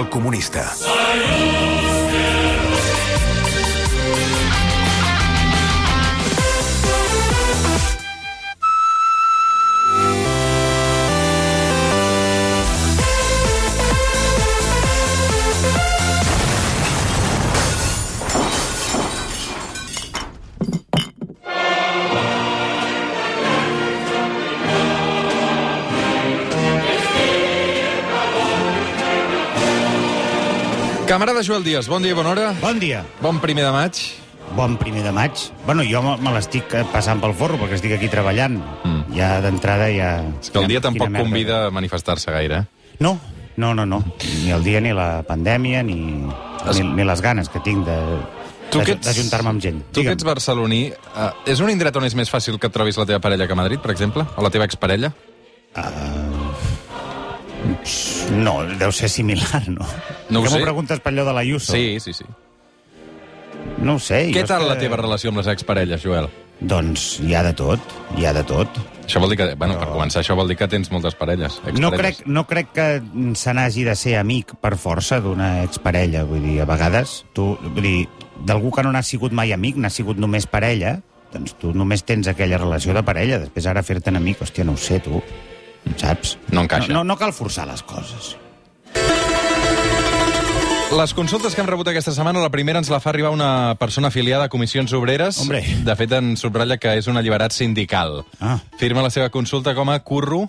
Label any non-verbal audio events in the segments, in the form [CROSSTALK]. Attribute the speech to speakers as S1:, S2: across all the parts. S1: El comunista.
S2: Camarada Joel Díaz, bon dia i bona hora.
S3: Bon dia.
S2: Bon primer de maig.
S3: Bon primer de maig. Bueno, jo me me l'estic eh, passant pel forro, perquè estic aquí treballant. Mm. Ja d'entrada ja...
S2: És que el dia
S3: Quina
S2: tampoc
S3: merda.
S2: convida a manifestar-se gaire. eh?
S3: No, no, no, no. Ni el dia, ni la pandèmia, ni,
S2: Es-
S3: ni, ni les ganes que tinc de
S2: Tu que
S3: de-
S2: ets-
S3: d'ajuntar-me amb gent.
S2: Tu que
S3: Digue'm.
S2: ets barceloní, eh, és un indret on és més fàcil que et trobis la teva parella que a Madrid, per exemple? O la teva exparella?
S3: No, deu ser similar, no?
S2: No ho
S3: que
S2: sé.
S3: m'ho preguntes per allò de la Iuso?
S2: Sí, sí, sí.
S3: No ho sé.
S2: Oh. Què
S3: jo és
S2: tal la
S3: que-
S2: teva relació amb les exparelles, Joel?
S3: Doncs hi ha de tot, hi ha de tot.
S2: Això vol dir que, bueno, per començar, això vol dir que tens moltes parelles.
S3: No
S2: exparelles.
S3: crec, no crec que se n'hagi de ser amic per força d'una exparella. Vull dir, a vegades, tu, vull dir, d'algú que no n'ha sigut mai amic, n'ha sigut només parella, doncs tu només tens aquella relació de parella. Després ara fer-te'n amic, hòstia, no ho sé, tu. Saps?
S2: No encaixa.
S3: No, no, no cal forçar les coses.
S2: Les consultes que hem rebut aquesta setmana, la primera ens la fa arribar una persona afiliada a Comissions Obreres.
S3: Hombre.
S2: De fet, en subratlla que és un alliberat sindical.
S3: Ah.
S2: Firma la seva consulta com a curro...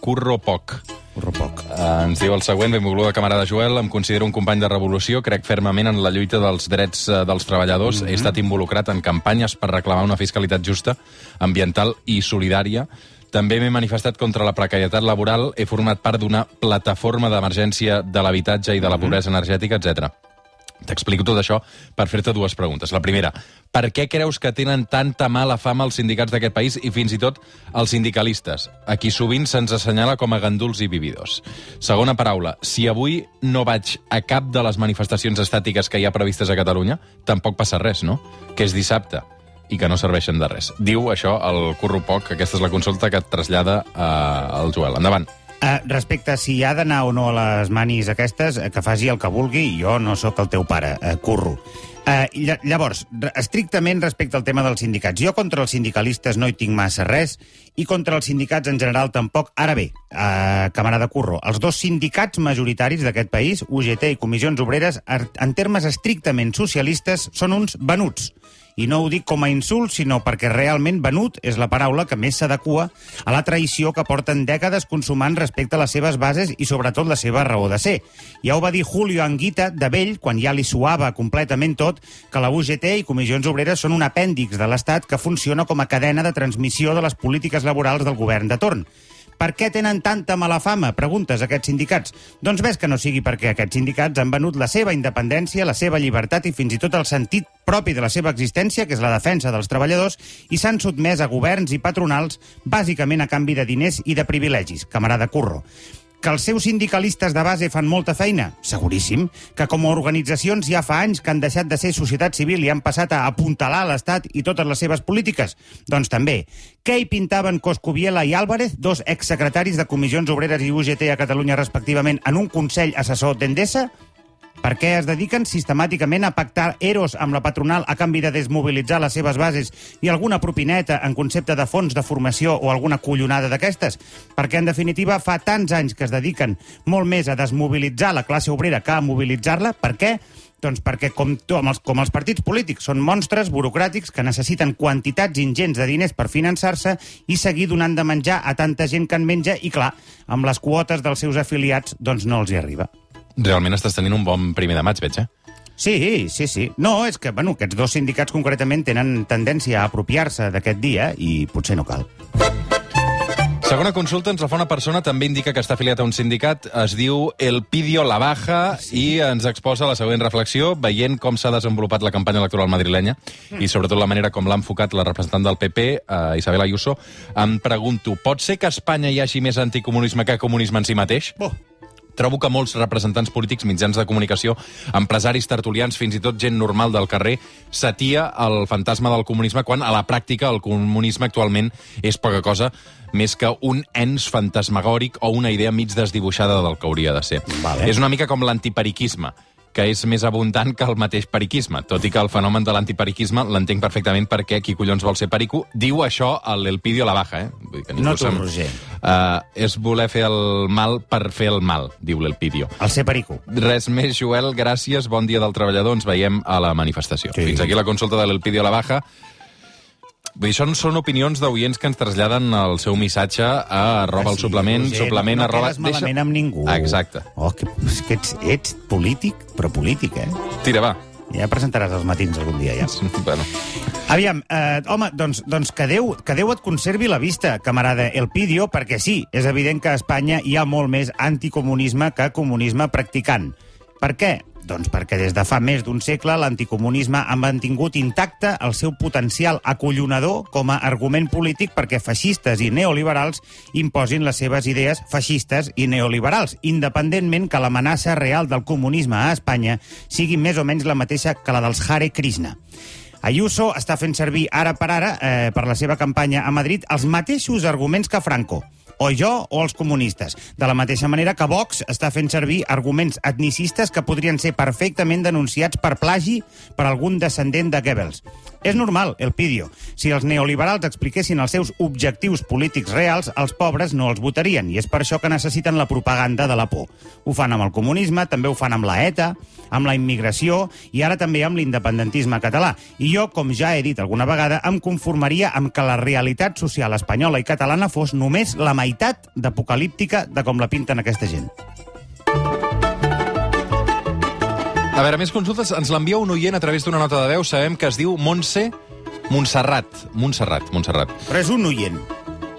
S2: Curro poc.
S3: Corro poc.
S2: Eh, Ens diu el següent, benvolguda camarada Joel, em considero un company de revolució, crec fermament en la lluita dels drets eh, dels treballadors, he estat involucrat en campanyes per reclamar una fiscalitat justa, ambiental i solidària, també m'he manifestat contra la precarietat laboral, he format part d'una plataforma d'emergència de l'habitatge i de la pobresa energètica, etc. T'explico tot això per fer-te dues preguntes. La primera, per què creus que tenen tanta mala fama els sindicats d'aquest país i fins i tot els sindicalistes, a qui sovint se'ns assenyala com a ganduls i vividors? Segona paraula, si avui no vaig a cap de les manifestacions estàtiques que hi ha previstes a Catalunya, tampoc passa res, no? Que és dissabte i que no serveixen de res. Diu això el Curro Poc, aquesta és la consulta que et trasllada eh, al Joel. Endavant.
S3: Uh, respecte a si ha d'anar o no a les manis aquestes, eh, que faci el que vulgui, jo no sóc el teu pare, eh, curro. Uh, llavors, re- estrictament respecte al tema dels sindicats, jo contra els sindicalistes no hi tinc massa res i contra els sindicats en general tampoc. Ara bé, uh, camarada Curro, els dos sindicats majoritaris d'aquest país, UGT i Comissions Obreres, ar- en termes estrictament socialistes, són uns venuts. I no ho dic com a insult, sinó perquè realment venut és la paraula que més s'adequa a la traïció que porten dècades consumant respecte a les seves bases i sobretot la seva raó de ser. Ja ho va dir Julio Anguita, de vell, quan ja li suava completament tot, que la UGT i Comissions Obreres són un apèndix de l'Estat que funciona com a cadena de transmissió de les polítiques laborals del govern de torn. Per què tenen tanta mala fama? Preguntes a aquests sindicats. Doncs ves que no sigui perquè aquests sindicats han venut la seva independència, la seva llibertat i fins i tot el sentit propi de la seva existència, que és la defensa dels treballadors, i s'han sotmès a governs i patronals bàsicament a canvi de diners i de privilegis. Camarada Curro. Que els seus sindicalistes de base fan molta feina? Seguríssim. Que com a organitzacions ja fa anys que han deixat de ser societat civil i han passat a apuntalar l'Estat i totes les seves polítiques? Doncs també. Què hi pintaven Coscubiela i Álvarez, dos exsecretaris de Comissions Obreres i UGT a Catalunya respectivament, en un Consell Assessor d'Endesa? Per què es dediquen sistemàticament a pactar eros amb la patronal a canvi de desmobilitzar les seves bases i alguna propineta en concepte de fons de formació o alguna collonada d'aquestes? Perquè, en definitiva, fa tants anys que es dediquen molt més a desmobilitzar la classe obrera que a mobilitzar-la. Per què? Doncs perquè, com, to- amb els, com els partits polítics, són monstres burocràtics que necessiten quantitats ingents de diners per finançar-se i seguir donant de menjar a tanta gent que en menja i, clar, amb les quotes dels seus afiliats, doncs no els hi arriba.
S2: Realment estàs tenint un bon primer de maig, veig, eh?
S3: Sí, sí, sí. No, és que bueno, aquests dos sindicats concretament tenen tendència a apropiar-se d'aquest dia i potser no cal.
S2: Segona consulta ens la fa una persona, també indica que està afiliat a un sindicat, es diu El Pidio La Baja sí. i ens exposa la següent reflexió, veient com s'ha desenvolupat la campanya electoral madrilenya i sobretot la manera com l'ha enfocat la representant del PP, eh, Isabel Ayuso,
S3: Oh.
S2: em pregunto, pot ser que a Espanya hi hagi més anticomunisme que comunisme en si mateix?
S3: Bo,
S2: trobo que molts representants polítics, mitjans de comunicació, empresaris tertulians, fins i tot gent normal del carrer, satia el fantasma del comunisme quan a la pràctica el comunisme actualment és poca cosa més que un ens fantasmagòric o una idea mig desdibuixada del que hauria de ser.
S3: Vale.
S2: És una mica com l'antiperiquisme, que és més abundant que el mateix periquisme, tot i que el fenomen de l'antiperiquisme l'entenc perfectament perquè qui collons vol ser perico diu això a l'Elpidio a la baja, eh? Vull dir que
S3: No
S2: ningú
S3: tu,
S2: se'n-
S3: Roger.
S2: Eh, és voler fer el mal per fer el mal, diu l'Elpidio.
S3: El ser perico.
S2: Res més, Joel, gràcies, bon dia del treballador, ens veiem a la manifestació.
S3: Sí.
S2: Sí. Fins aquí la consulta de l'Elpidio a la baja. Vull dir, això són opinions d'oients que ens traslladen el seu missatge a arroba el
S3: Ah, Sí,
S2: suplement,
S3: Roger,
S2: suplement,
S3: no, no
S2: arroba...
S3: quedes malament amb ningú.
S2: Exacte.
S3: Oh, que, és que ets, ets polític, però polític, eh?
S2: Tira, va.
S3: Ja presentaràs els matins algun dia, ja.
S2: Bueno.
S3: Aviam, eh, home, doncs, doncs que, Déu, que Déu et conservi la vista, camarada Elpidio, perquè sí, és evident que a Espanya hi ha molt més anticomunisme que comunisme practicant. Per què? Doncs perquè des de fa més d'un segle l'anticomunisme ha mantingut intacte el seu potencial acollonador com a argument polític perquè feixistes i neoliberals imposin les seves idees feixistes i neoliberals, independentment que l'amenaça real del comunisme a Espanya sigui més o menys la mateixa que la dels Hare Krishna. Ayuso està fent servir ara per ara, eh, per la seva campanya a Madrid, els mateixos arguments que Franco o jo o els comunistes. De la mateixa manera que Vox està fent servir arguments etnicistes que podrien ser perfectament denunciats per plagi per algun descendent de Goebbels. És normal, el Pidio. Si els neoliberals expliquessin els seus objectius polítics reals, els pobres no els votarien, i és per això que necessiten la propaganda de la por. Ho fan amb el comunisme, també ho fan amb la ETA, amb la immigració i ara també amb l'independentisme català. I jo, com ja he dit alguna vegada, em conformaria amb que la realitat social espanyola i catalana fos només la meitat d'apocalíptica de com la pinten aquesta gent.
S2: A veure, més consultes. Ens l'envia un oient a través d'una nota de veu. Sabem que es diu Montse Montserrat. Montserrat, Montserrat.
S3: Però és un oient.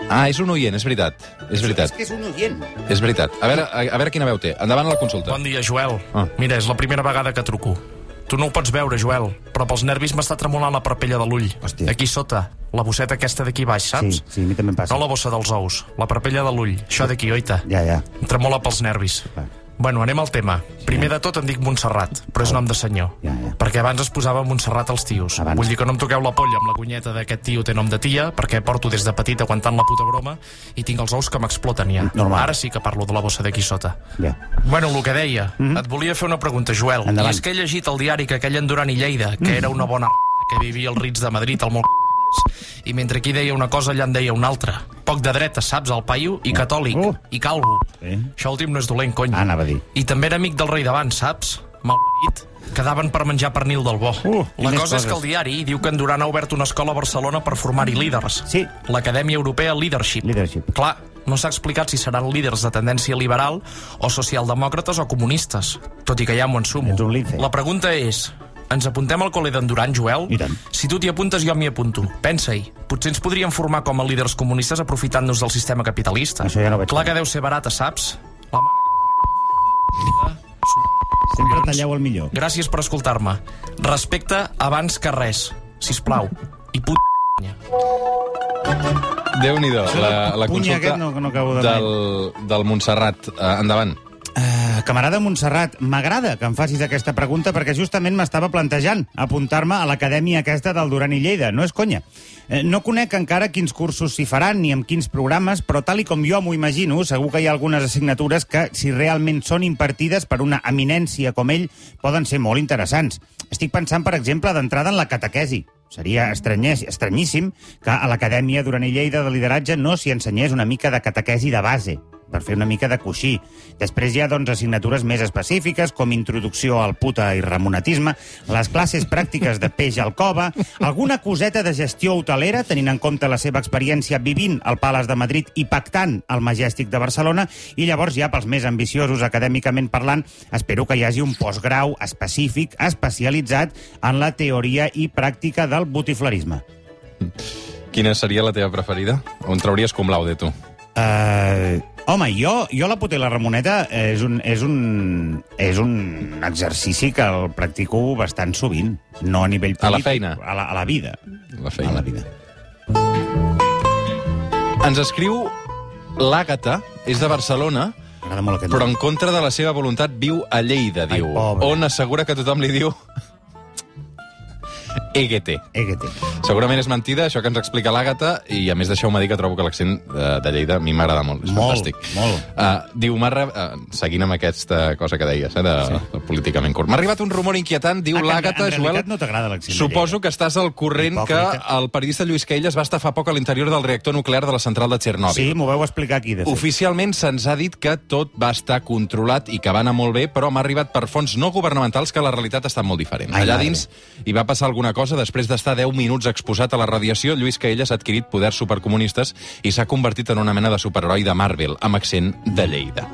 S2: Ah, és un oient, és veritat. És veritat,
S3: És que és un oient.
S2: és veritat. A veure, a, a veure quina veu té. Endavant la consulta.
S1: Bon dia, Joel.
S2: Ah.
S1: Ah. Mira, és la primera vegada que truco. Tu no ho pots veure, Joel, però pels nervis m'està tremolant la parpella de l'ull.
S3: Hòstia.
S1: Aquí sota, la bosseta aquesta d'aquí baix, saps?
S3: Sí, sí, a mi també em passa.
S1: No la bossa dels ous, la parpella de l'ull. Això d'aquí, oita.
S3: Ja, ja.
S1: Em tremola pels nervis.
S3: Clar.
S1: Bueno, anem al tema. Primer de tot em dic Montserrat, però és nom de senyor.
S3: Oh. Ja, ja.
S1: Perquè abans es posava Montserrat als tios.
S3: Abans.
S1: Vull dir que no em toqueu la polla amb la cunyeta d'aquest tio té nom de tia, perquè porto des de petit aguantant la puta broma i tinc els ous que m'exploten ja.
S3: Normal.
S1: Ara sí que parlo de la bossa d'aquí sota.
S3: Ja.
S1: Bueno, el que deia. Mm -hmm. Et volia fer una pregunta, Joel.
S3: Mhm. Endavant.
S1: I és que he llegit al diari que aquell Endurant i Lleida, que era una bona que vivia als Ritz de Madrid, al molt i mentre aquí deia una cosa, allà en deia una altra. Poc de dreta, saps, el paio, i catòlic,
S3: Oh.
S1: i calvo.
S3: Sí.
S1: Això últim no és dolent, cony.
S3: Ah, anava a dir.
S1: I també era amic del rei d'abans, saps? Malpaït. Quedaven per menjar pernil del bo.
S3: Uh, i
S1: la
S3: més
S1: cosa
S3: coses.
S1: és que el diari diu que Endurant ha obert una escola a Barcelona per formar-hi líders.
S3: Sí.
S1: L'Acadèmia Europea Leadership.
S3: Leadership.
S1: Clar, no s'ha explicat si seran líders de tendència liberal o socialdemòcrates o comunistes, tot i que ja m'ho ensumo.
S3: Ets un lince.
S1: La pregunta és... Ens apuntem al col·le d'Endurant, Joel?
S3: I tant.
S1: Si tu t'hi apuntes, jo m'hi apunto. Pensa-hi. Potser ens podríem formar com a líders comunistes aprofitant-nos del sistema capitalista.
S3: Això ja no vaig
S1: Clar
S3: fer.
S1: que deu ser barata, saps? La mà...
S3: Sempre talleu el millor.
S1: Gràcies per escoltar-me. Respecte abans que res, si plau. I put...
S2: Déu-n'hi-do. La, la
S3: Puny
S2: consulta
S3: aquest no- no acabo de
S2: del, del Montserrat. Eh, endavant.
S3: Eh, camarada Montserrat, m'agrada que em facis aquesta pregunta perquè justament m'estava plantejant apuntar-me a l'acadèmia aquesta del Duran i Lleida, no és conya. Eh, no conec encara quins cursos s'hi faran ni amb quins programes, però tal i com jo m'ho imagino, segur que hi ha algunes assignatures que, si realment són impartides per una eminència com ell, poden ser molt interessants. Estic pensant, per exemple, d'entrada en la catequesi. Seria estranyés, estranyíssim que a l'Acadèmia Duran i Lleida de Lideratge no s'hi ensenyés una mica de catequesi de base, per fer una mica de coixí. Després hi ha, doncs, assignatures més específiques, com introducció al puta i ramonatisme, les classes pràctiques de peix al cova, alguna coseta de gestió hotelera, tenint en compte la seva experiència vivint al Palace de Madrid i pactant al Majestic de Barcelona, i llavors ja pels més ambiciosos acadèmicament parlant, espero que hi hagi un postgrau específic, especialitzat en la teoria i pràctica del botiflerisme.
S2: Quina seria la teva preferida? On trauries cum laude, tu?
S3: Uh, home, jo, jo la puta i la Ramoneta és un, és, un, és un exercici que el practico bastant sovint, no a nivell polític.
S2: A la feina?
S3: A la, a la vida.
S2: La
S3: A
S2: feina.
S3: la vida.
S2: Ens escriu l'Àgata, és de Barcelona,
S3: M'agrada molt aquest
S2: Però
S3: nom.
S2: en contra de la seva voluntat viu a Lleida,
S3: Ai,
S2: diu,
S3: pobre.
S2: on assegura que tothom li diu... [LAUGHS] E EGT.
S3: EGT.
S2: Segurament és mentida, això que ens explica l'Àgata, i a més deixeu-me dir que trobo que l'accent de, de Lleida a mi m'agrada molt, és
S3: Molt,
S2: fantàstic.
S3: molt.
S2: Uh, diu, m'ha... re- Uh, seguint amb aquesta cosa que deies, eh, de, sí. de políticament curt. M'ha arribat un rumor inquietant, diu
S3: Ah, que en-
S2: l'Àgata,
S3: en
S2: Joel...
S3: realitat no t'agrada l'accent de
S2: Suposo que estàs al corrent que
S3: Hipòcrita.
S2: el periodista Lluís Caelles va estar fa poc a l'interior del reactor nuclear de la central de Txernòbil.
S3: Sí, m'ho vau explicar aquí, de fet.
S2: Oficialment se'ns ha dit que tot va estar controlat i que va anar molt bé, però m'ha arribat per fons no governamentals que la realitat ha estat molt diferent.
S3: Ai,
S2: Allà
S3: madre.
S2: dins hi va passar alguna cosa. Després d'estar 10 minuts exposat a la radiació, Lluís Caelles ha adquirit poders supercomunistes i s'ha convertit en una mena de superheroi de Marvel, amb accent de Lleida.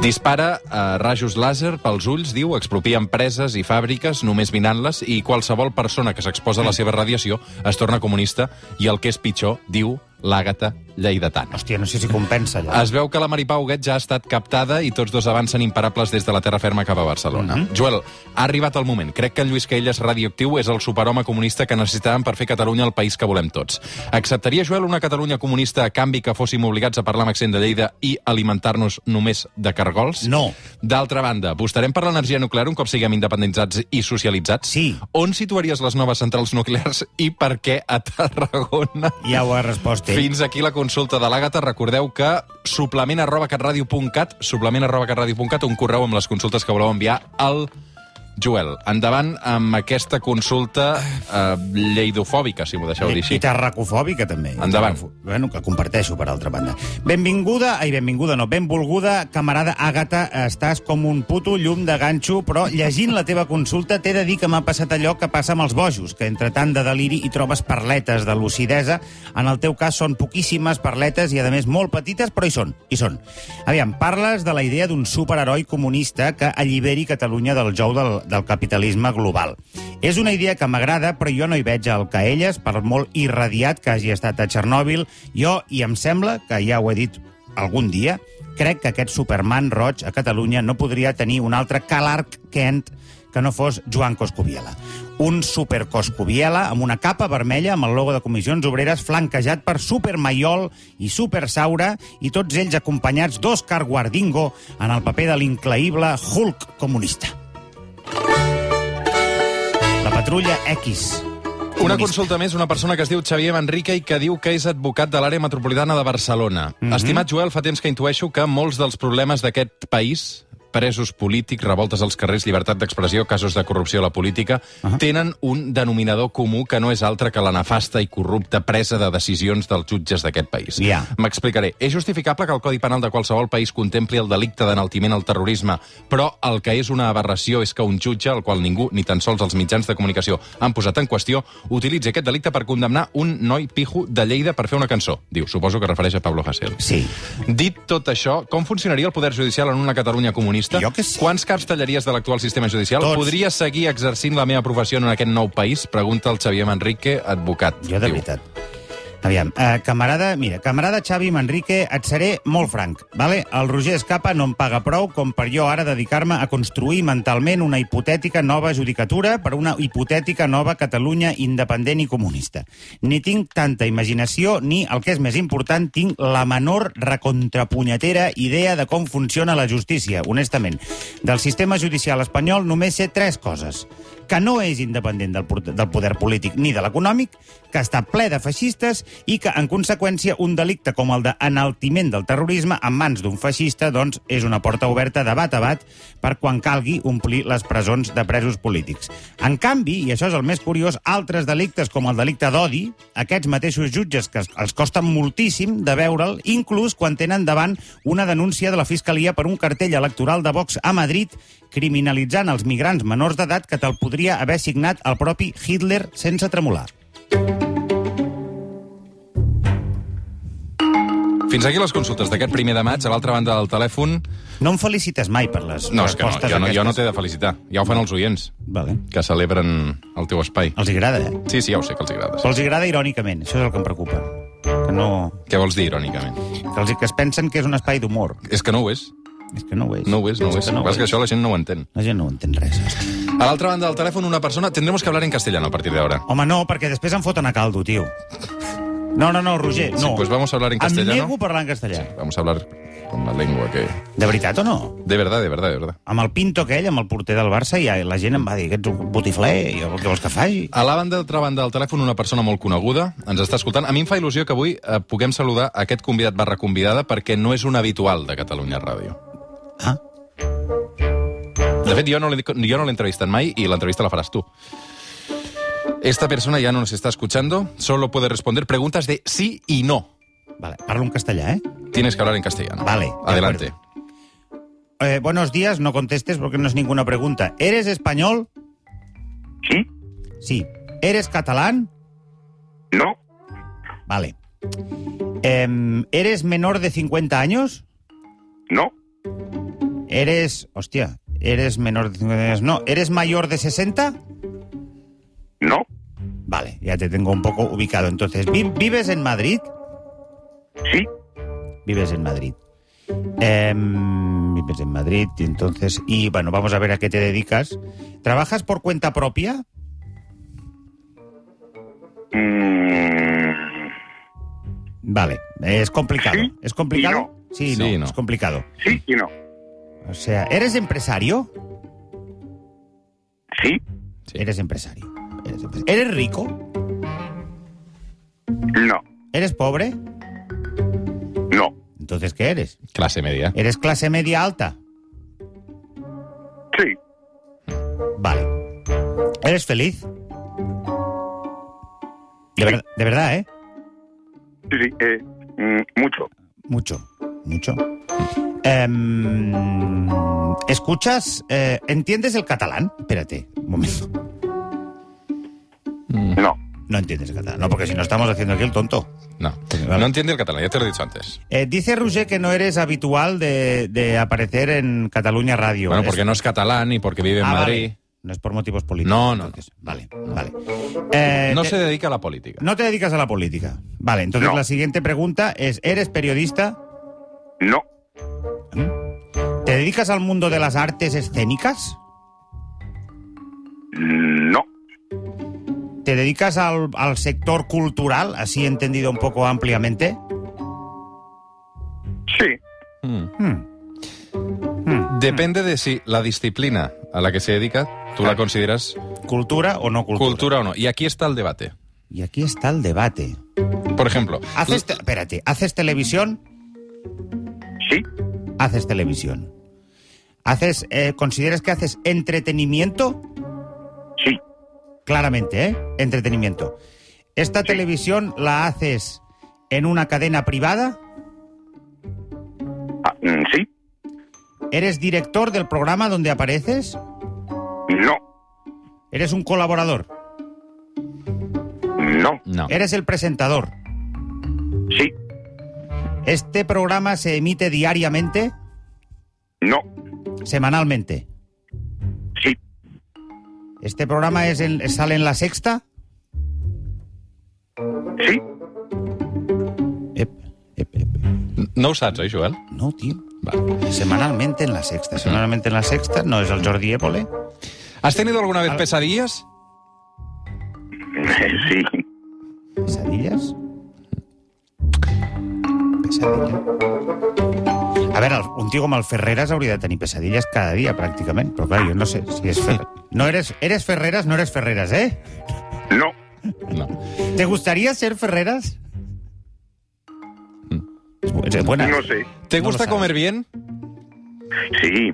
S2: Dispara eh, rajos làser pels ulls, diu, expropia empreses i fàbriques només minant-les i qualsevol persona que s'exposa a la seva radiació es torna comunista i el que és pitjor, diu, l'àgata lleidatana.
S3: Hòstia, no sé si compensa, allò.
S2: Es veu que la Mari Pau Guet ja ha estat captada i tots dos avancen imparables des de la terra ferma cap a Barcelona.
S3: Mhm.
S2: Mm -hmm. Joel, ha arribat el moment. Crec que en Lluís Caelles radioactiu és el superhome comunista que necessitàvem per fer Catalunya el país que volem tots. Acceptaria, Joel, una Catalunya comunista a canvi que fóssim obligats a parlar amb accent de Lleida i alimentar-nos només de cargols?
S3: No.
S2: D'altra banda, apostarem per l'energia nuclear un cop siguem independitzats i socialitzats?
S3: Sí.
S2: On situaries les noves centrals nuclears i per què a Tarragona?
S3: Ja ho ha respost ell.
S2: Fins aquí la consulta de l'Àgata. Recordeu que suplement arroba catradio.cat, suplement arroba catradio.cat, un correu amb les consultes que voleu enviar al Joel. Endavant amb aquesta consulta eh, lleidofòbica, si m'ho deixeu dir
S3: I,
S2: així.
S3: I tarracofòbica, també.
S2: Endavant.
S3: Bueno, que comparteixo, per altra banda. Benvinguda, ai, benvinguda no, benvolguda, camarada Àgata, estàs com un puto llum de ganxo, però llegint la teva consulta t'he de dir que m'ha passat allò que passa amb els bojos, que entre tant de deliri hi trobes parletes de lucidesa. En el teu cas són poquíssimes parletes i, a més, molt petites, però hi són, hi són. Aviam, parles de la idea d'un superheroi comunista que alliberi Catalunya del jou del, del capitalisme global. És una idea que m'agrada, però jo no hi veig el Caelles, per molt irradiat que hagi estat a Txernòbil. Jo, i em sembla, que ja ho he dit algun dia, crec que aquest Superman roig a Catalunya no podria tenir un altre Calarc Kent que no fos Joan Coscubiela. Un supercoscubiela amb una capa vermella amb el logo de Comissions Obreres flanquejat per Supermaiol i Supersaura i tots ells acompanyats d'Òscar Guardingo en el paper de l'incleïble Hulk comunista. La patrulla X.
S2: Una
S3: Comunista.
S2: consulta més, una persona que es diu Xavier Manrique i que diu que és advocat de l'àrea metropolitana de Barcelona.
S3: Mhm.
S2: Mm -hmm. Estimat Joel, fa temps que intueixo que molts dels problemes d'aquest país presos polítics, revoltes als carrers, llibertat d'expressió, casos de corrupció a la política, uh -huh. tenen un denominador comú que no és altre que la nefasta i corrupta presa de decisions dels jutges d'aquest país.
S3: Ja.
S2: M'explicaré. És justificable que el Codi Penal de qualsevol país contempli el delicte d'enaltiment al terrorisme, però el que és una aberració és que un jutge, al qual ningú, ni tan sols els mitjans de comunicació, han posat en qüestió, utilitzi aquest delicte per condemnar un noi pijo de Lleida per fer una cançó. Diu, suposo que es refereix a Pablo Hasél.
S3: Sí.
S2: Dit tot això, com funcionaria el poder judicial en una Catalunya comunista?
S3: Jo que sí.
S2: Quants caps tallaries de l'actual sistema judicial?
S3: Tots.
S2: Podria seguir exercint la meva professió en aquest nou país? Pregunta el Xavier Manrique, advocat.
S3: Jo, de
S2: Diu.
S3: veritat. Aviam, eh, camarada, mira, camarada Xavi Manrique, et seré molt franc, vale? El Roger Escapa no em paga prou com per jo ara dedicar-me a construir mentalment una hipotètica nova judicatura per una hipotètica nova Catalunya independent i comunista. Ni tinc tanta imaginació, ni, el que és més important, tinc la menor recontrapunyetera idea de com funciona la justícia, honestament. Del sistema judicial espanyol només sé tres coses que no és independent del, por- del poder polític ni de l'econòmic, que està ple de feixistes i que, en conseqüència, un delicte com el d'enaltiment del terrorisme en mans d'un feixista doncs, és una porta oberta de bat a bat per quan calgui omplir les presons de presos polítics. En canvi, i això és el més curiós, altres delictes com el delicte d'odi, aquests mateixos jutges que es- els costa moltíssim de veure'l, inclús quan tenen davant una denúncia de la Fiscalia per un cartell electoral de Vox a Madrid criminalitzant els migrants menors d'edat que te'l podria haver signat el propi Hitler sense tremolar.
S2: Fins aquí les consultes d'aquest primer de maig. A l'altra banda del telèfon...
S3: No em felicites mai per les
S2: No, és que no,
S3: respostes
S2: jo no, jo no t'he
S3: aquestes.
S2: de felicitar. Ja ho fan els oients,
S3: Vale.
S2: que celebren el teu espai.
S3: Els hi agrada, eh?
S2: Sí, sí, ja ho sé que els agrada.
S3: Però els hi agrada irònicament, això és el que em preocupa. Que no...
S2: Què vols dir, irònicament?
S3: Que els que es pensen que és un espai d'humor.
S2: És que no ho és.
S3: És que no ho és.
S2: No ho és, no ho és.
S3: que
S2: No és que això la gent no ho entén.
S3: La gent no ho entén res. hòstia.
S2: A l'altra banda del telèfon, una persona... Tendremos que hablar en castellano a partir d'ara.
S3: Home, no, perquè després em foten a caldo, tio. No, no, no, Roger, no.
S2: pues doncs vamos a hablar en
S3: Em
S2: castellano.
S3: nego a parlar en castellà.
S2: Vamos a hablar con la lengua que...
S3: De veritat o no?
S2: De verdad, de verdad, de verdad.
S3: Amb el Pinto aquell, amb el porter del Barça, i la gent em va dir que ets un botifler, i jo, què vols que faci?
S2: A la banda d'altra banda del telèfon, una persona molt coneguda ens està escoltant. A mi em fa il·lusió que avui eh, puguem saludar aquest convidat barra convidada perquè no és un habitual de Catalunya Ràdio.
S3: Ah,
S2: De fet, jo no l'he jo no l'he entrevistat mai y la entrevista la farás tú. Esta persona ya no nos está escuchando, solo puede responder preguntas de sí y no.
S3: vale. Parlo en castellà, eh?
S2: Tienes que hablar en castellano.
S3: Vale, de
S2: Adelante.
S3: Eh, buenos días, no contestes porque no es ninguna pregunta. ¿Eres español?
S4: Sí,
S3: Sí. ¿Eres catalán?
S4: no,
S3: Vale. Em, ¿Eres menor de 50 años?
S4: no,
S3: ¿Eres... Hostia, ¿eres menor de 50 años? No. ¿Eres mayor de 60?
S4: no,
S3: Vale, ya te tengo un poco ubicado. Entonces, ¿vi- ¿vives en Madrid?
S4: sí,
S3: Vives en Madrid. Em, vives en Madrid, y entonces... Y bueno, vamos a ver a qué te dedicas. ¿Trabajas por cuenta propia?
S4: mm,
S3: Vale, es complicado.
S4: Sí
S3: ¿Es complicado?
S4: y no.
S3: Sí,
S2: Sí y
S3: no,
S2: no.
S3: es complicado.
S4: sí y no,
S3: O sea, ¿eres empresario?
S4: sí,
S2: Sí.
S3: Eres empresario. Eres, empres- ¿Eres rico?
S4: no,
S3: ¿Eres pobre?
S4: no,
S3: Entonces, ¿qué eres?
S2: Clase media.
S3: ¿Eres clase media alta?
S4: sí,
S3: Vale. ¿Eres feliz? De, ver- de verdad, ¿eh?
S4: sí, eh, mm, mucho,
S3: Mucho, mucho. Em, ¿Escuchas? eh, ¿Entiendes el catalán? Espérate, un momento.
S4: no,
S3: No entiendes el catalán. No, porque si no estamos haciendo aquí el tonto.
S2: No.
S3: Vale.
S2: No entiende el catalán, ya te lo he dicho antes.
S3: Eh, dice Roger que no eres habitual de, de aparecer en Cataluña Radio.
S2: Bueno,
S3: Es-
S2: porque no es catalán y porque vive en
S3: Ah, vale.
S2: Madrid.
S3: No es por motivos políticos.
S2: No, no,
S3: entonces. Vale, vale. Eh,
S2: No
S3: te-
S2: se dedica a la política.
S3: no te dedicas a la política. Vale, entonces
S4: No.
S3: la siguiente pregunta es, ¿eres periodista?
S4: no,
S3: ¿Te dedicas al mundo de las artes escénicas?
S4: no,
S3: ¿Te dedicas al, al sector cultural, así entendido un poco ampliamente?
S4: sí,
S2: Mm.
S3: Hmm. Mm.
S2: Depende de si la disciplina a la que se dedica tú la consideras
S3: ¿Cultura o no cultura?
S2: cultura o no. Y aquí está el debate.
S3: Y aquí está el debate.
S2: Por ejemplo,
S3: ¿Haces te- Espérate, ¿haces televisión?
S4: sí,
S3: haces televisión. Haces, eh, ¿Consideras que haces entretenimiento?
S4: sí,
S3: Claramente, ¿eh? Entretenimiento. ¿Esta televisión la haces en una cadena privada?
S4: ah, mm, sí,
S3: ¿Eres director del programa donde apareces?
S4: no,
S3: ¿Eres un colaborador?
S4: no,
S2: no.
S3: ¿Eres el presentador?
S4: sí,
S3: ¿Este programa se emite diariamente?
S4: no,
S3: ¿Semanalmente?
S4: sí,
S3: ¿Este programa es en- sale en la sexta?
S4: sí, [LAUGHS]
S3: Ep, ep, ep.
S2: No ho saps, oi, Joel?
S3: No, tío.
S2: Vale.
S3: Semanalmente en la sexta. Semanalmente en la sexta no es el Jordi Évole.
S2: ¿Has tenido alguna vez
S3: Al-
S2: pesadillas?
S4: sí,
S3: ¿Pesadillas? Pesadilla. A veure, el- un tio com el Ferreras hauria de tenir pesadilles cada dia, pràcticament. Però clar, jo no sé si és Ferreras. No eres, eres Ferreras, no eres Ferreras, eh?
S4: no,
S2: No.
S3: ¿Te gustaría ser Ferreras? Pues, eh, Es bu- Es buena.
S4: no sé,
S2: ¿Te
S3: No lo
S2: gusta
S3: sabes.
S2: comer bien?
S4: sí,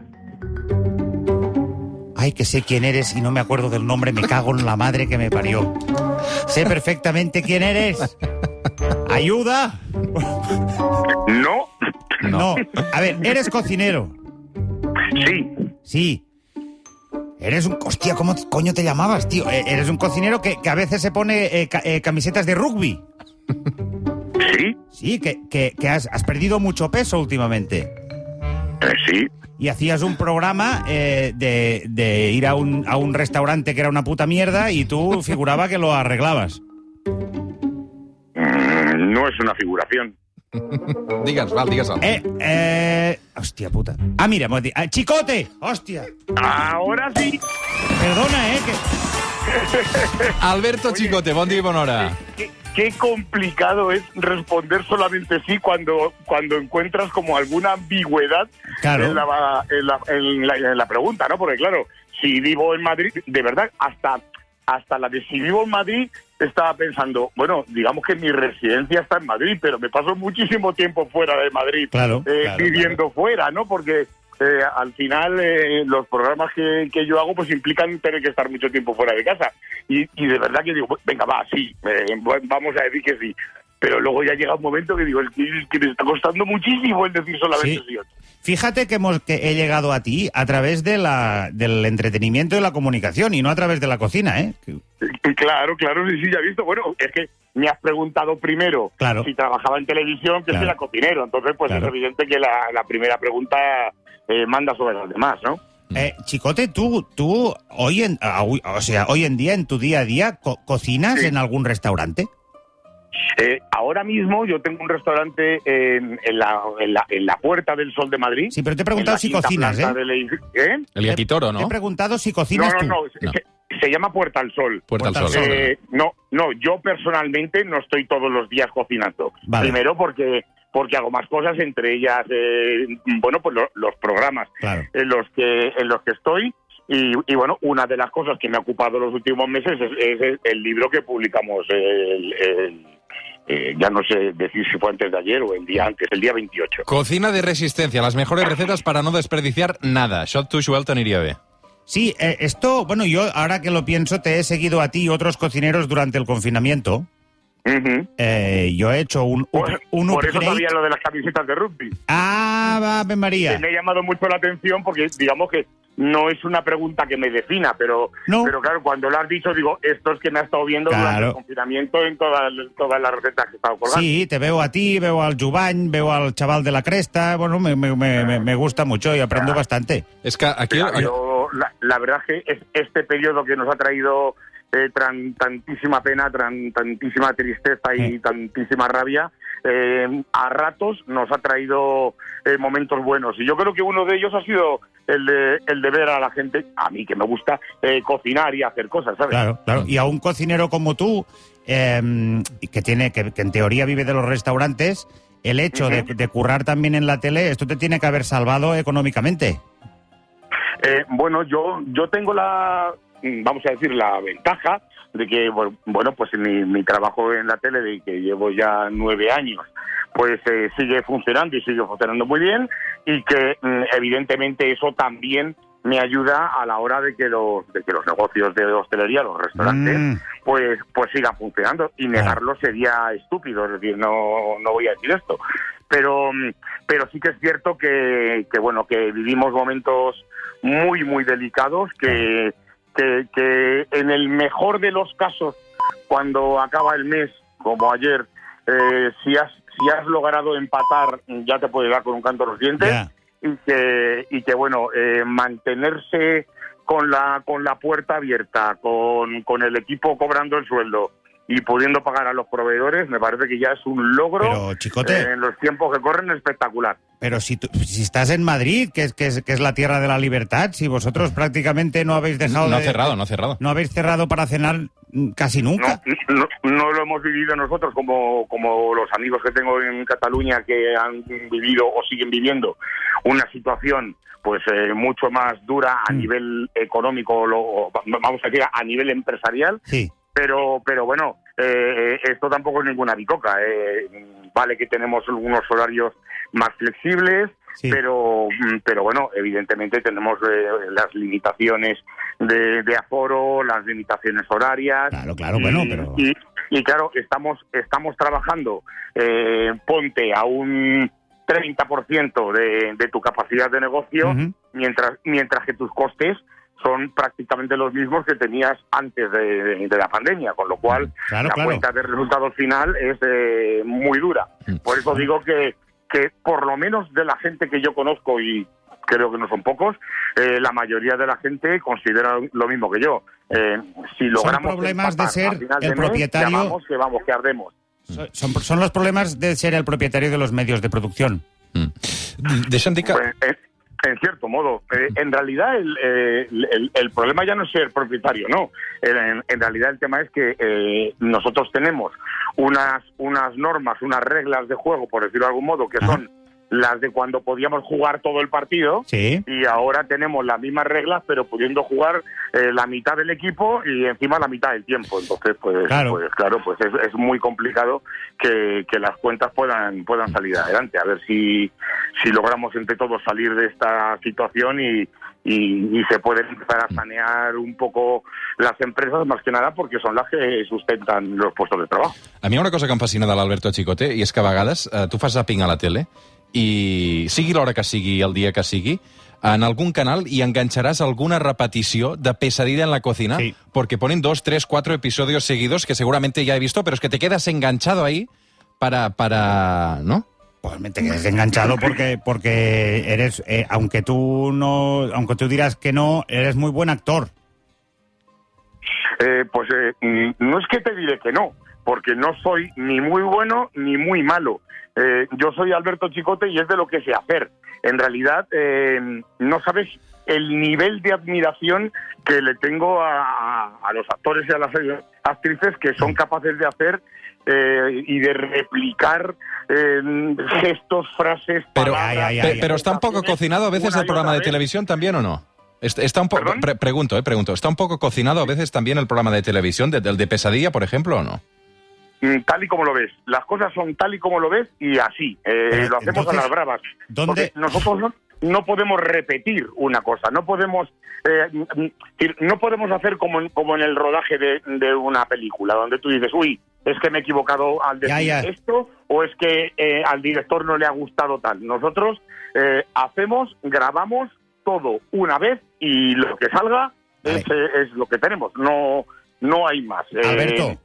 S3: Ay, que sé quién eres y no me acuerdo del nombre, me cago en la madre que me parió. Sé perfectamente quién eres. ¡Ayuda!
S4: no,
S2: No.
S3: A ver, eres cocinero.
S4: sí,
S3: Sí. Eres un... Hostia, ¿cómo coño te llamabas, tío? E- Eres un cocinero que, que a veces se pone eh, ca- eh, camisetas de rugby.
S4: sí,
S3: Sí, que, que- que has, has perdido mucho peso últimamente.
S4: eh, sí,
S3: Y hacías un programa eh, de, de ir a un, a un restaurante que era una puta mierda y tú figuraba que lo arreglabas.
S4: mm, no es una figuración,
S2: Digues, val, digues algo.
S3: Eh, eh... Hostia puta. Ah, mira, hemos di- ah, ¡Chicote! ¡Hostia!
S4: ahora sí,
S3: Perdona, eh, que...
S2: Alberto Chicote, bon dia i bona hora.
S4: ¿qué, qué complicado es responder solamente sí cuando, cuando encuentras como alguna ambigüedad
S3: Claro.
S4: en, la, en la- en la- en la pregunta, ¿no? Porque claro, si vivo en Madrid, de verdad, hasta, hasta la de si vivo en Madrid estaba pensando, bueno, digamos que mi residencia está en Madrid, pero me paso muchísimo tiempo fuera de Madrid
S3: Claro,
S4: eh,
S3: claro,
S4: viviendo fuera, ¿no? Porque eh, al final eh, los programas que, que yo hago pues implican tener que estar mucho tiempo fuera de casa. Y, y de verdad que digo, "Bueno, venga, va, sí, eh, bueno, vamos a decir que sí. Pero luego ya llega un momento que digo, el que, es que me está costando muchísimo el decir solamente
S3: Sí.
S4: sí. o no.
S3: Fíjate que, hemos, que he llegado a ti a través de la, del entretenimiento y la comunicación y no a través de la cocina, ¿eh?
S4: Eh, Claro, claro, sí, sí, ya he visto. Bueno, es que me has preguntado primero
S3: Claro.
S4: si trabajaba en televisión, que
S3: Claro.
S4: si era cocinero. Entonces, pues
S3: Claro.
S4: es evidente que la, la primera pregunta eh, manda sobre las demás, ¿no?
S3: Eh, Chicote, tú, tú hoy en, ah, hoy- o sea, hoy en día, en tu día a día, co- ¿cocinas
S4: Sí.
S3: en algún restaurante?
S4: Eh, ahora mismo yo tengo un restaurante en, en la, en, la, en la Puerta del Sol de Madrid.
S3: Sí, pero te he
S4: en la
S3: preguntado si
S4: quinta
S3: cocinas,
S4: planta
S3: ¿eh?
S4: del edificio- ¿eh?
S2: El Yaquitoro,
S3: Te he
S2: no?
S3: preguntado si
S4: No,
S3: cocinas
S4: no,
S3: tú.
S4: no.
S2: No.
S4: Se, se llama Puerta al Sol.
S2: Puerta al
S3: Puerta al
S2: Sol.
S3: Sol.
S4: Eh, no, no, yo personalmente no estoy todos los días cocinando.
S3: Vale.
S4: Primero porque porque hago más cosas, entre ellas, eh, bueno, pues lo- los programas
S3: Claro.
S4: en los que en los que estoy. Y, y, bueno, una de las cosas que me ha ocupado los últimos meses es, es el, el libro que publicamos, el- el- eh, ya no sé decir si fue antes de ayer o el día antes, el día 28.
S2: Cocina de resistencia, las mejores recetas para no desperdiciar nada. Això a tu, Joel, t'aniria bé.
S3: Sí, eh, esto, bueno, yo ahora que lo pienso, te he seguido a ti y otros cocineros durante el confinamiento.
S4: Ujú.
S3: Eh, yo he hecho un,
S4: Por,
S3: up- un
S4: por eso
S3: upgrade.
S4: sabía lo de las camisetas de rugby.
S3: Ah, va, Ave
S4: que
S3: María.
S4: me ha llamado mucho la atención porque digamos que no es una pregunta que me defina, pero,
S3: No.
S4: pero claro, cuando lo has dicho, digo, esto es que me ha estado viendo durante
S3: Claro.
S4: el confinamiento en todas todas las recetas que he estado colgando.
S3: Sí, te veo a ti, veo al Jubany, veo al chaval de la cresta. Bueno, me, me- me- me gusta mucho y aprendo bastante.
S2: És que aquí...
S4: Claro, yo- la, la verdad es que es este periodo que nos ha traído eh, tran- tantísima pena, tran- tantísima tristeza y tantísima rabia, eh, a ratos nos ha traído eh, momentos buenos. Y yo creo que uno de ellos ha sido el de, el de ver a la gente, a mí que me gusta eh, cocinar y hacer cosas, ¿sabes?
S3: Claro, claro. Y a un cocinero como tú, eh, que tiene, que, que en teoría vive de los restaurantes, el hecho de, de currar también en la tele, esto te tiene que haber salvado económicamente.
S4: Eh, bueno, yo, yo tengo la, mm, vamos a decir, la ventaja de que, bu- bueno, pues mi, mi trabajo en la tele, de que llevo ya nueve años, pues eh, sigue funcionando y sigue funcionando muy bien y que mm, evidentemente eso también me ayuda a la hora de que los, de que los negocios de hostelería, los restaurantes,
S3: Mm.
S4: pues, pues sigan funcionando. Y
S3: Claro.
S4: negarlo sería estúpido, es decir, no, no voy a decir esto. Pero, mm, pero sí que es cierto que, que, bueno, que vivimos momentos muy, muy delicados, que, que, que en el mejor de los casos, cuando acaba el mes, como ayer, eh, si, has, si has logrado empatar, ya te puede dar con un canto a los dientes
S3: Ya.
S4: y que, y que bueno, eh, mantenerse con la, con la puerta abierta, con, con el equipo cobrando el sueldo y pudiendo pagar a los proveedores, me parece que ya es un logro
S3: Pero, chicote,
S4: eh, en los tiempos que corren espectacular.
S3: pero si, tú- si estás en Madrid, que es, que, es, que es la tierra de la libertad, si vosotros prácticamente no habéis dejado
S2: No
S3: de-
S2: ha cerrado, no ha cerrado.
S3: no habéis cerrado para cenar mm, casi
S4: No,
S3: nunca.
S4: no, no lo hemos vivido nosotros como, como los amigos que tengo en Cataluña que han vivido o siguen viviendo una situación pues eh, mucho más dura a
S3: Mm.
S4: nivel económico, lo- o va- vamos a decir a nivel empresarial,
S3: Sí.
S4: pero pero bueno eh, esto tampoco es ninguna bicoca eh. vale que tenemos algunos horarios más flexibles
S3: Sí.
S4: pero mm, pero bueno evidentemente tenemos eh, las limitaciones de, de aforo las limitaciones horarias
S3: Claro, claro, bueno,
S4: y,
S3: pero...
S4: y- y claro estamos estamos trabajando eh, ponte a un 30% de, de tu capacidad de negocio
S3: Ujú.
S4: mientras mientras que tus costes son prácticamente los mismos que tenías antes de, de- de la pandemia, con lo cual
S3: Claro,
S4: la
S3: claro.
S4: cuenta de resultados final es eh, muy dura.
S2: Mm.
S4: Por eso digo que, que por lo menos de la gente que yo conozco, y creo que no son pocos, eh, la mayoría de la gente considera lo mismo que yo. Eh, si logramos
S3: problemas de
S4: empatar
S3: ser
S4: a final
S3: el
S4: de mes,
S3: propietario-
S4: ya vamos, que vamos, que ardemos.
S3: So- Son, son los problemas de ser el propietario de los medios de producción.
S2: Mm. Deixa'm dir que...
S4: Pues, eh, en cierto modo. Eh, en realidad, el, eh, el- el problema ya no es ser propietario, no. En, en- en realidad, el tema es que eh, nosotros tenemos unas, unas normas, unas reglas de juego, por decirlo de algún modo, que
S3: Ajá.
S4: son las de cuando podíamos jugar todo el partido.
S3: Sí.
S4: Y ahora tenemos las mismas reglas, pero pudiendo jugar eh, la mitad del equipo y encima la mitad del tiempo. Entonces,
S3: Claro.
S4: pues claro, pues, claro, pues es, es muy complicado que, que las cuentas puedan puedan salir adelante. A ver si, si logramos entre todos salir de esta situación y, y, y se puede empezar a sanear un poco las empresas, más que nada porque son las que sustentan los puestos de trabajo.
S2: A mi hi ha una cosa que em fascina de l'Alberto Chicote i és que a vegades eh, tu fas zapping a la tele i sigui l'hora que sigui, el dia que sigui, en algun canal hi enganxaràs alguna repetició de Pesadilla en la cocina
S3: Sí.
S2: porque ponen dos, tres, cuatro episodios seguidos que seguramente ya he visto, pero es que te quedas enganchado ahí para... para ¿no?
S3: Pues me te quedas enganchado porque, porque eres, eh, aunque tú no, aunque tú dirás que no, eres muy buen actor.
S4: Eh, pues eh, mm, no es que te diré que no, porque no soy ni muy bueno ni muy malo. Eh, yo soy Alberto Chicote y es de lo que sé hacer. En realidad, eh, no sabes el nivel de admiración que le tengo a, a los actores y a las actrices que son capaces de hacer eh, y de replicar eh, gestos, frases,
S2: Pero-
S4: palabras,
S3: Ay, ay, ay.
S2: Pe- pero está un poco cocinado a veces
S4: Una
S2: el
S4: y
S2: programa
S4: otra
S2: de
S4: vez.
S2: televisión también o no? Est- Está un poco,
S4: ¿Perdón?
S2: pre- pregunto, eh, pregunto. ¿Está un poco cocinado a veces también el programa de televisión, de- del de Pesadilla, por ejemplo, o no?
S4: Mm, Tal y como lo ves. Las cosas son tal y como lo ves y así. Eh,
S3: Pero,
S4: lo hacemos
S3: entonces,
S4: a las bravas.
S3: ¿dónde-
S4: Porque nosotros no, no podemos repetir una cosa. No podemos eh, mm, mm, decir, no podemos hacer como en, como en el rodaje de, de una película, donde tú dices, uy, es que me he equivocado al decir
S3: Ya, ya.
S4: esto o es que eh, al director no le ha gustado tal. Nosotros eh, hacemos, grabamos todo una vez y lo que salga
S3: Vale.
S4: es, eh, es lo que tenemos. No, no hay más. Eh,
S3: Alberto.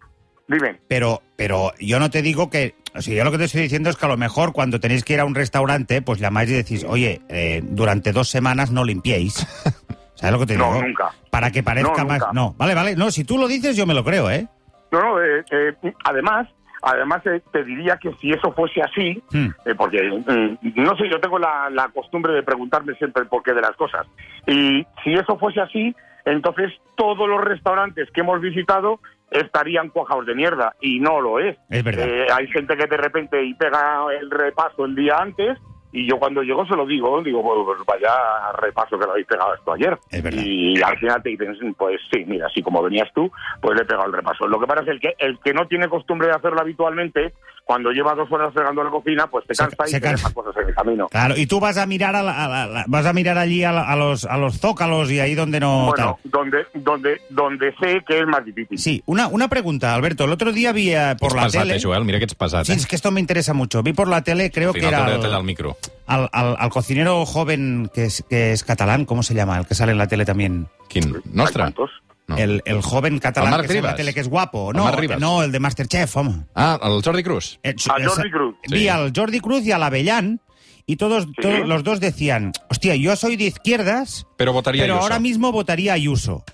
S4: dime.
S3: Pero, pero yo no te digo que. O sea, yo lo que te estoy diciendo es que a lo mejor cuando tenéis que ir a un restaurante, pues llamáis y decís, oye, eh, durante dos semanas no limpiéis. [LAUGHS] ¿Sabes lo que te
S4: No,
S3: digo?
S4: nunca.
S3: Para que parezca
S4: No,
S3: más.
S4: nunca.
S3: No, vale, vale. No, si tú lo dices, yo me lo creo, ¿eh?
S4: No, no, eh, eh, además, además eh, te diría que si eso fuese así,
S3: Hmm.
S4: eh, porque mm, no sé, yo tengo la, la costumbre de preguntarme siempre el porqué de las cosas. Y si eso fuese así, entonces todos los restaurantes que hemos visitado estarían cuajados de mierda y no lo es.
S3: Es verdad.
S4: Eh, hay gente que de repente y pega el repaso el día antes y yo cuando llego se lo digo, digo, "Bueno, pues vaya repaso que lo habéis pegado esto ayer.
S3: Es verdad.
S4: Y al final te dicen, pues sí, mira, así como venías tú, pues le he pegado el repaso. Lo que pasa es el que el que no tiene costumbre de hacerlo habitualmente, cuando lleva dos horas fregando la cocina, pues te
S3: Se-
S4: cansa y
S3: se
S4: te
S3: cansa.
S4: deja cosas en el camino.
S3: Claro, y tú vas a mirar a la- a la- la- vas a mirar allí a, la- a los a los zócalos y ahí donde no
S4: bueno,
S3: tal.
S4: donde, donde, donde sé que es más difícil.
S3: Sí, una, una pregunta, Alberto. El otro día vi eh, por
S2: Ets
S3: la
S2: pesat,
S3: tele.
S2: eh, Joel? Mira que ets pesat,
S3: Sí,
S2: eh?
S3: es que esto me interesa mucho. Vi por la tele, creo
S2: Al
S3: que
S2: final
S3: era
S2: t'hauré de
S3: al,
S2: tallar el micro.
S3: al- al- al cocinero joven que es, que es catalán, ¿cómo se llama? El que sale en la tele también.
S2: Quin?
S4: Hay
S2: Nostre?
S4: tantos.
S2: No.
S3: El, el joven catalán
S2: Marc
S3: que sale en la
S2: Ribas.
S3: tele que es guapo.
S2: El
S3: No,
S2: Marc Ribas.
S3: no, el de Masterchef, vamos.
S2: Ah, el Jordi Cruz.
S3: Eh,
S4: A
S3: eh,
S4: Jordi Cruz.
S3: Vi
S2: Sí.
S3: al Jordi Cruz y al Avellán y todos, todos los dos decían, hostia, yo soy de izquierdas,
S2: Pero votaría
S3: pero
S2: Ayuso.
S3: ahora mismo votaría a Ayuso.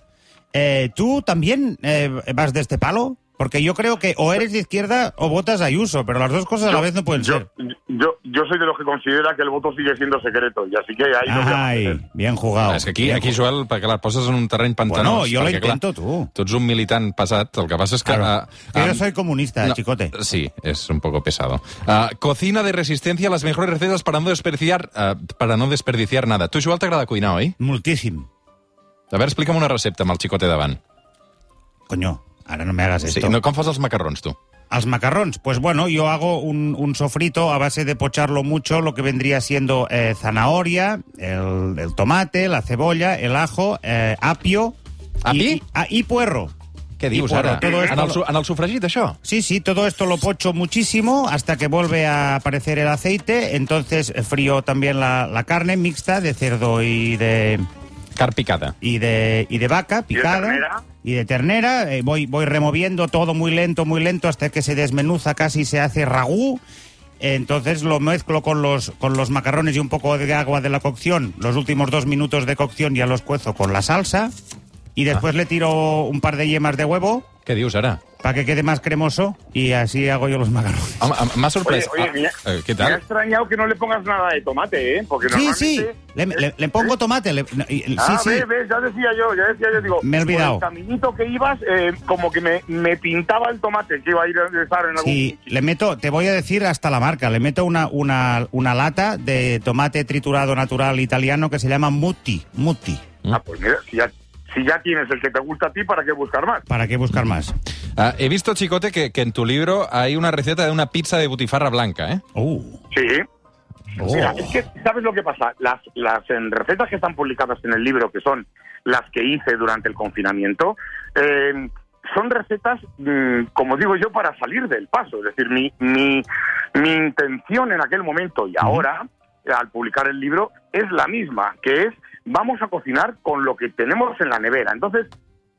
S3: Eh, ¿Tú también eh, vas de este palo? Porque yo creo que o eres de izquierda o votas a Ayuso, pero las dos cosas a la vez no pueden
S4: yo,
S3: ser.
S4: yo, yo soy de los que considera que el voto sigue siendo secreto y así que ahí no voy a meter.
S3: Ay, bien jugado.
S2: Ah, és que aquí,
S3: Bien
S2: aquí
S3: jugado.
S2: Joel, perquè la poses en un terreny pantanós.
S3: Bueno, jo la
S2: perquè, clar,
S3: intento, tu.
S2: Tu ets un militant pesat, el que passa és que...
S3: Claro.
S2: ah,
S3: Yo
S2: ah,
S3: no soy comunista,
S2: no,
S3: chicote.
S2: Sí, es un poco pesado. Ah, cocina de resistencia, las mejores recetas para no desperdiciar, ah, para no desperdiciar nada. Tu, Joel, t'agrada cuinar, oi?
S3: Multísimo.
S2: A veure, explica'm una recepta amb el xicote davant.
S3: Coño, ahora no me hagas
S2: Sí,
S3: esto.
S2: no, com fas els macarrons, tu?
S3: ¿Als macarrons? Pues bueno, yo hago un, un sofrito a base de pocharlo mucho, lo que vendría siendo eh, zanahoria, el, el tomate, la cebolla, el ajo, eh, apio...
S2: ¿Api?
S3: Y, y- ah, y puerro.
S2: Què dius,
S3: bueno,
S2: ara?
S3: todo esto
S2: en, el,
S3: lo-
S2: su- en el sofregit, això?
S3: Sí, sí, todo esto lo pocho muchísimo hasta que vuelve a aparecer el aceite. Entonces eh, frío también la, la carne mixta de cerdo y de,
S2: Car picada.
S3: y de, y de vaca
S4: de
S3: picada.
S4: ternera.
S3: Y de ternera. Eh, voy, voy removiendo todo muy lento, muy lento, hasta que se desmenuza casi y se hace ragú. Entonces lo mezclo con los, con los macarrones y un poco de agua de la cocción. Los últimos dos minutos de cocción ya los cuezo con la salsa. Y después le tiro un par de yemas de huevo.
S2: Què dius, ara?
S3: para que quede más cremoso y así hago yo los macarrones.
S2: Home, em- M'ha
S4: Oye,
S2: sorprès.
S4: oye, mira,
S2: Ah, eh, què
S4: me ha
S2: tal?
S4: extrañado que no le pongas nada de tomate, ¿eh? Porque
S3: Sí,
S4: normalmente...
S3: sí, le, le- le pongo tomate. le- no, y- sí,
S4: Ah,
S3: sí.
S4: ves, ves, ya decía yo, ya decía yo, digo,
S3: Me he olvidado.
S4: por el caminito que ibas, eh, como que me, me pintaba el tomate que iba a ir a estar en algún
S3: Sí, le meto, te voy a decir hasta la marca, le meto una, una, una lata de tomate triturado natural italiano que se llama Mutti, Mutti.
S4: Ah, pues mira, si ya, si ya tienes el que te gusta a ti, ¿para qué buscar más?
S3: ¿Para qué buscar más?
S2: Ah, he visto, Chicote, que, que en tu libro hay una receta de una pizza de butifarra blanca, ¿eh?
S3: Uh,
S4: Sí.
S3: Oh.
S4: Mira, es que, ¿sabes lo que pasa? Las, las em, recetas que están publicadas en el libro, que son las que hice durante el confinamiento, eh, son recetas, mm, como digo yo, para salir del paso. Es decir, mi, mi, mi intención en aquel momento y ahora, al publicar el libro, es la misma, que es vamos a cocinar con lo que tenemos en la nevera. Entonces,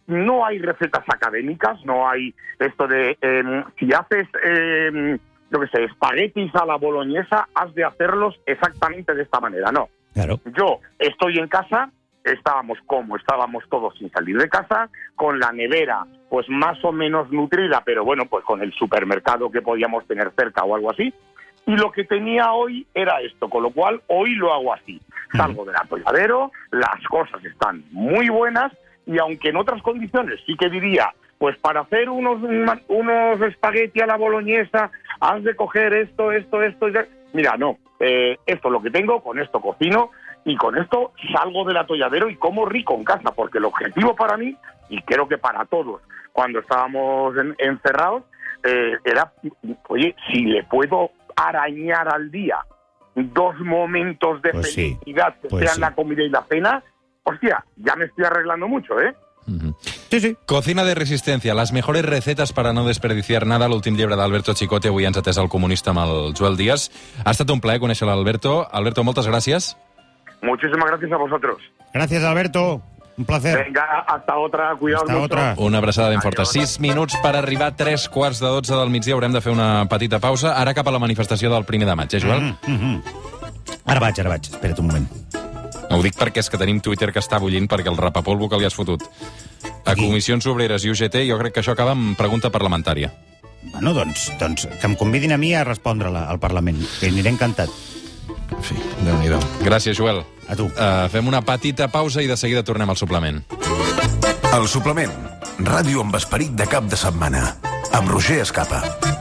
S4: no hay recetas académicas, no hay esto de em, si haces, em, yo qué sé, espaguetis a la boloñesa, has de hacerlos exactamente de esta manera. No,
S3: claro.
S4: yo estoy en casa, estábamos como, estábamos todos sin salir de casa, con la nevera pues más o menos nutrida, pero bueno, pues con el supermercado que podíamos tener cerca o algo así. Y lo que tenía hoy era esto, con lo cual hoy lo hago así. Salgo del atolladero, las cosas están muy buenas y aunque en otras condiciones sí que diría, pues para hacer unos, unos espagueti a la boloñesa has de coger esto, esto, esto. y tal. Mira, no, eh, esto es lo que tengo, con esto cocino y con esto salgo del atolladero y como rico en casa, porque el objetivo para mí, y creo que para todos, cuando estábamos en- encerrados, eh, era, oye, si le puedo arañar al día dos momentos de
S3: Pues sí,
S4: felicidad, que
S3: pues
S4: sean
S3: sí.
S4: la comida y la cena, hostia, ya me estoy arreglando mucho, ¿eh?
S2: Ujú.
S3: Sí, sí.
S2: Cocina de resistència, les mejores recetes para no desperdiciar nada, l'últim llibre d'Alberto Chicote, avui ens ha atès el comunista amb el Joel Díaz. Ha estat un plaer conèixer l'Alberto. Alberto, moltes gràcies.
S4: Muchísimas gracias a vosotros.
S3: Gracias, Alberto. Un placer.
S4: Venga, hasta otra, cuidado.
S3: Eh. Hasta otra.
S2: Una abraçada ben forta.
S4: Adiós.
S2: Sis minuts per arribar a tres quarts de dotze del migdia. Haurem de fer una petita pausa, ara cap a la manifestació del primer de maig, eh, Joel?
S3: Mm, mm. Ara vaig, ara vaig. Espera't un moment.
S2: Ho dic perquè és que tenim Twitter que està bullint perquè el rapapolvo que li has fotut a
S3: Qui?
S2: Comissions Obreres i UGT, jo crec que això acaba amb pregunta parlamentària.
S3: Bueno, doncs, doncs que em convidin a mi a respondre-la al Parlament, que aniré encantat.
S2: En fi, déu nhi Gràcies, Joel.
S3: A tu.
S2: Uh, fem una petita pausa i de seguida tornem al suplement.
S5: El suplement. Ràdio amb esperit de cap de setmana. Amb Roger Escapa.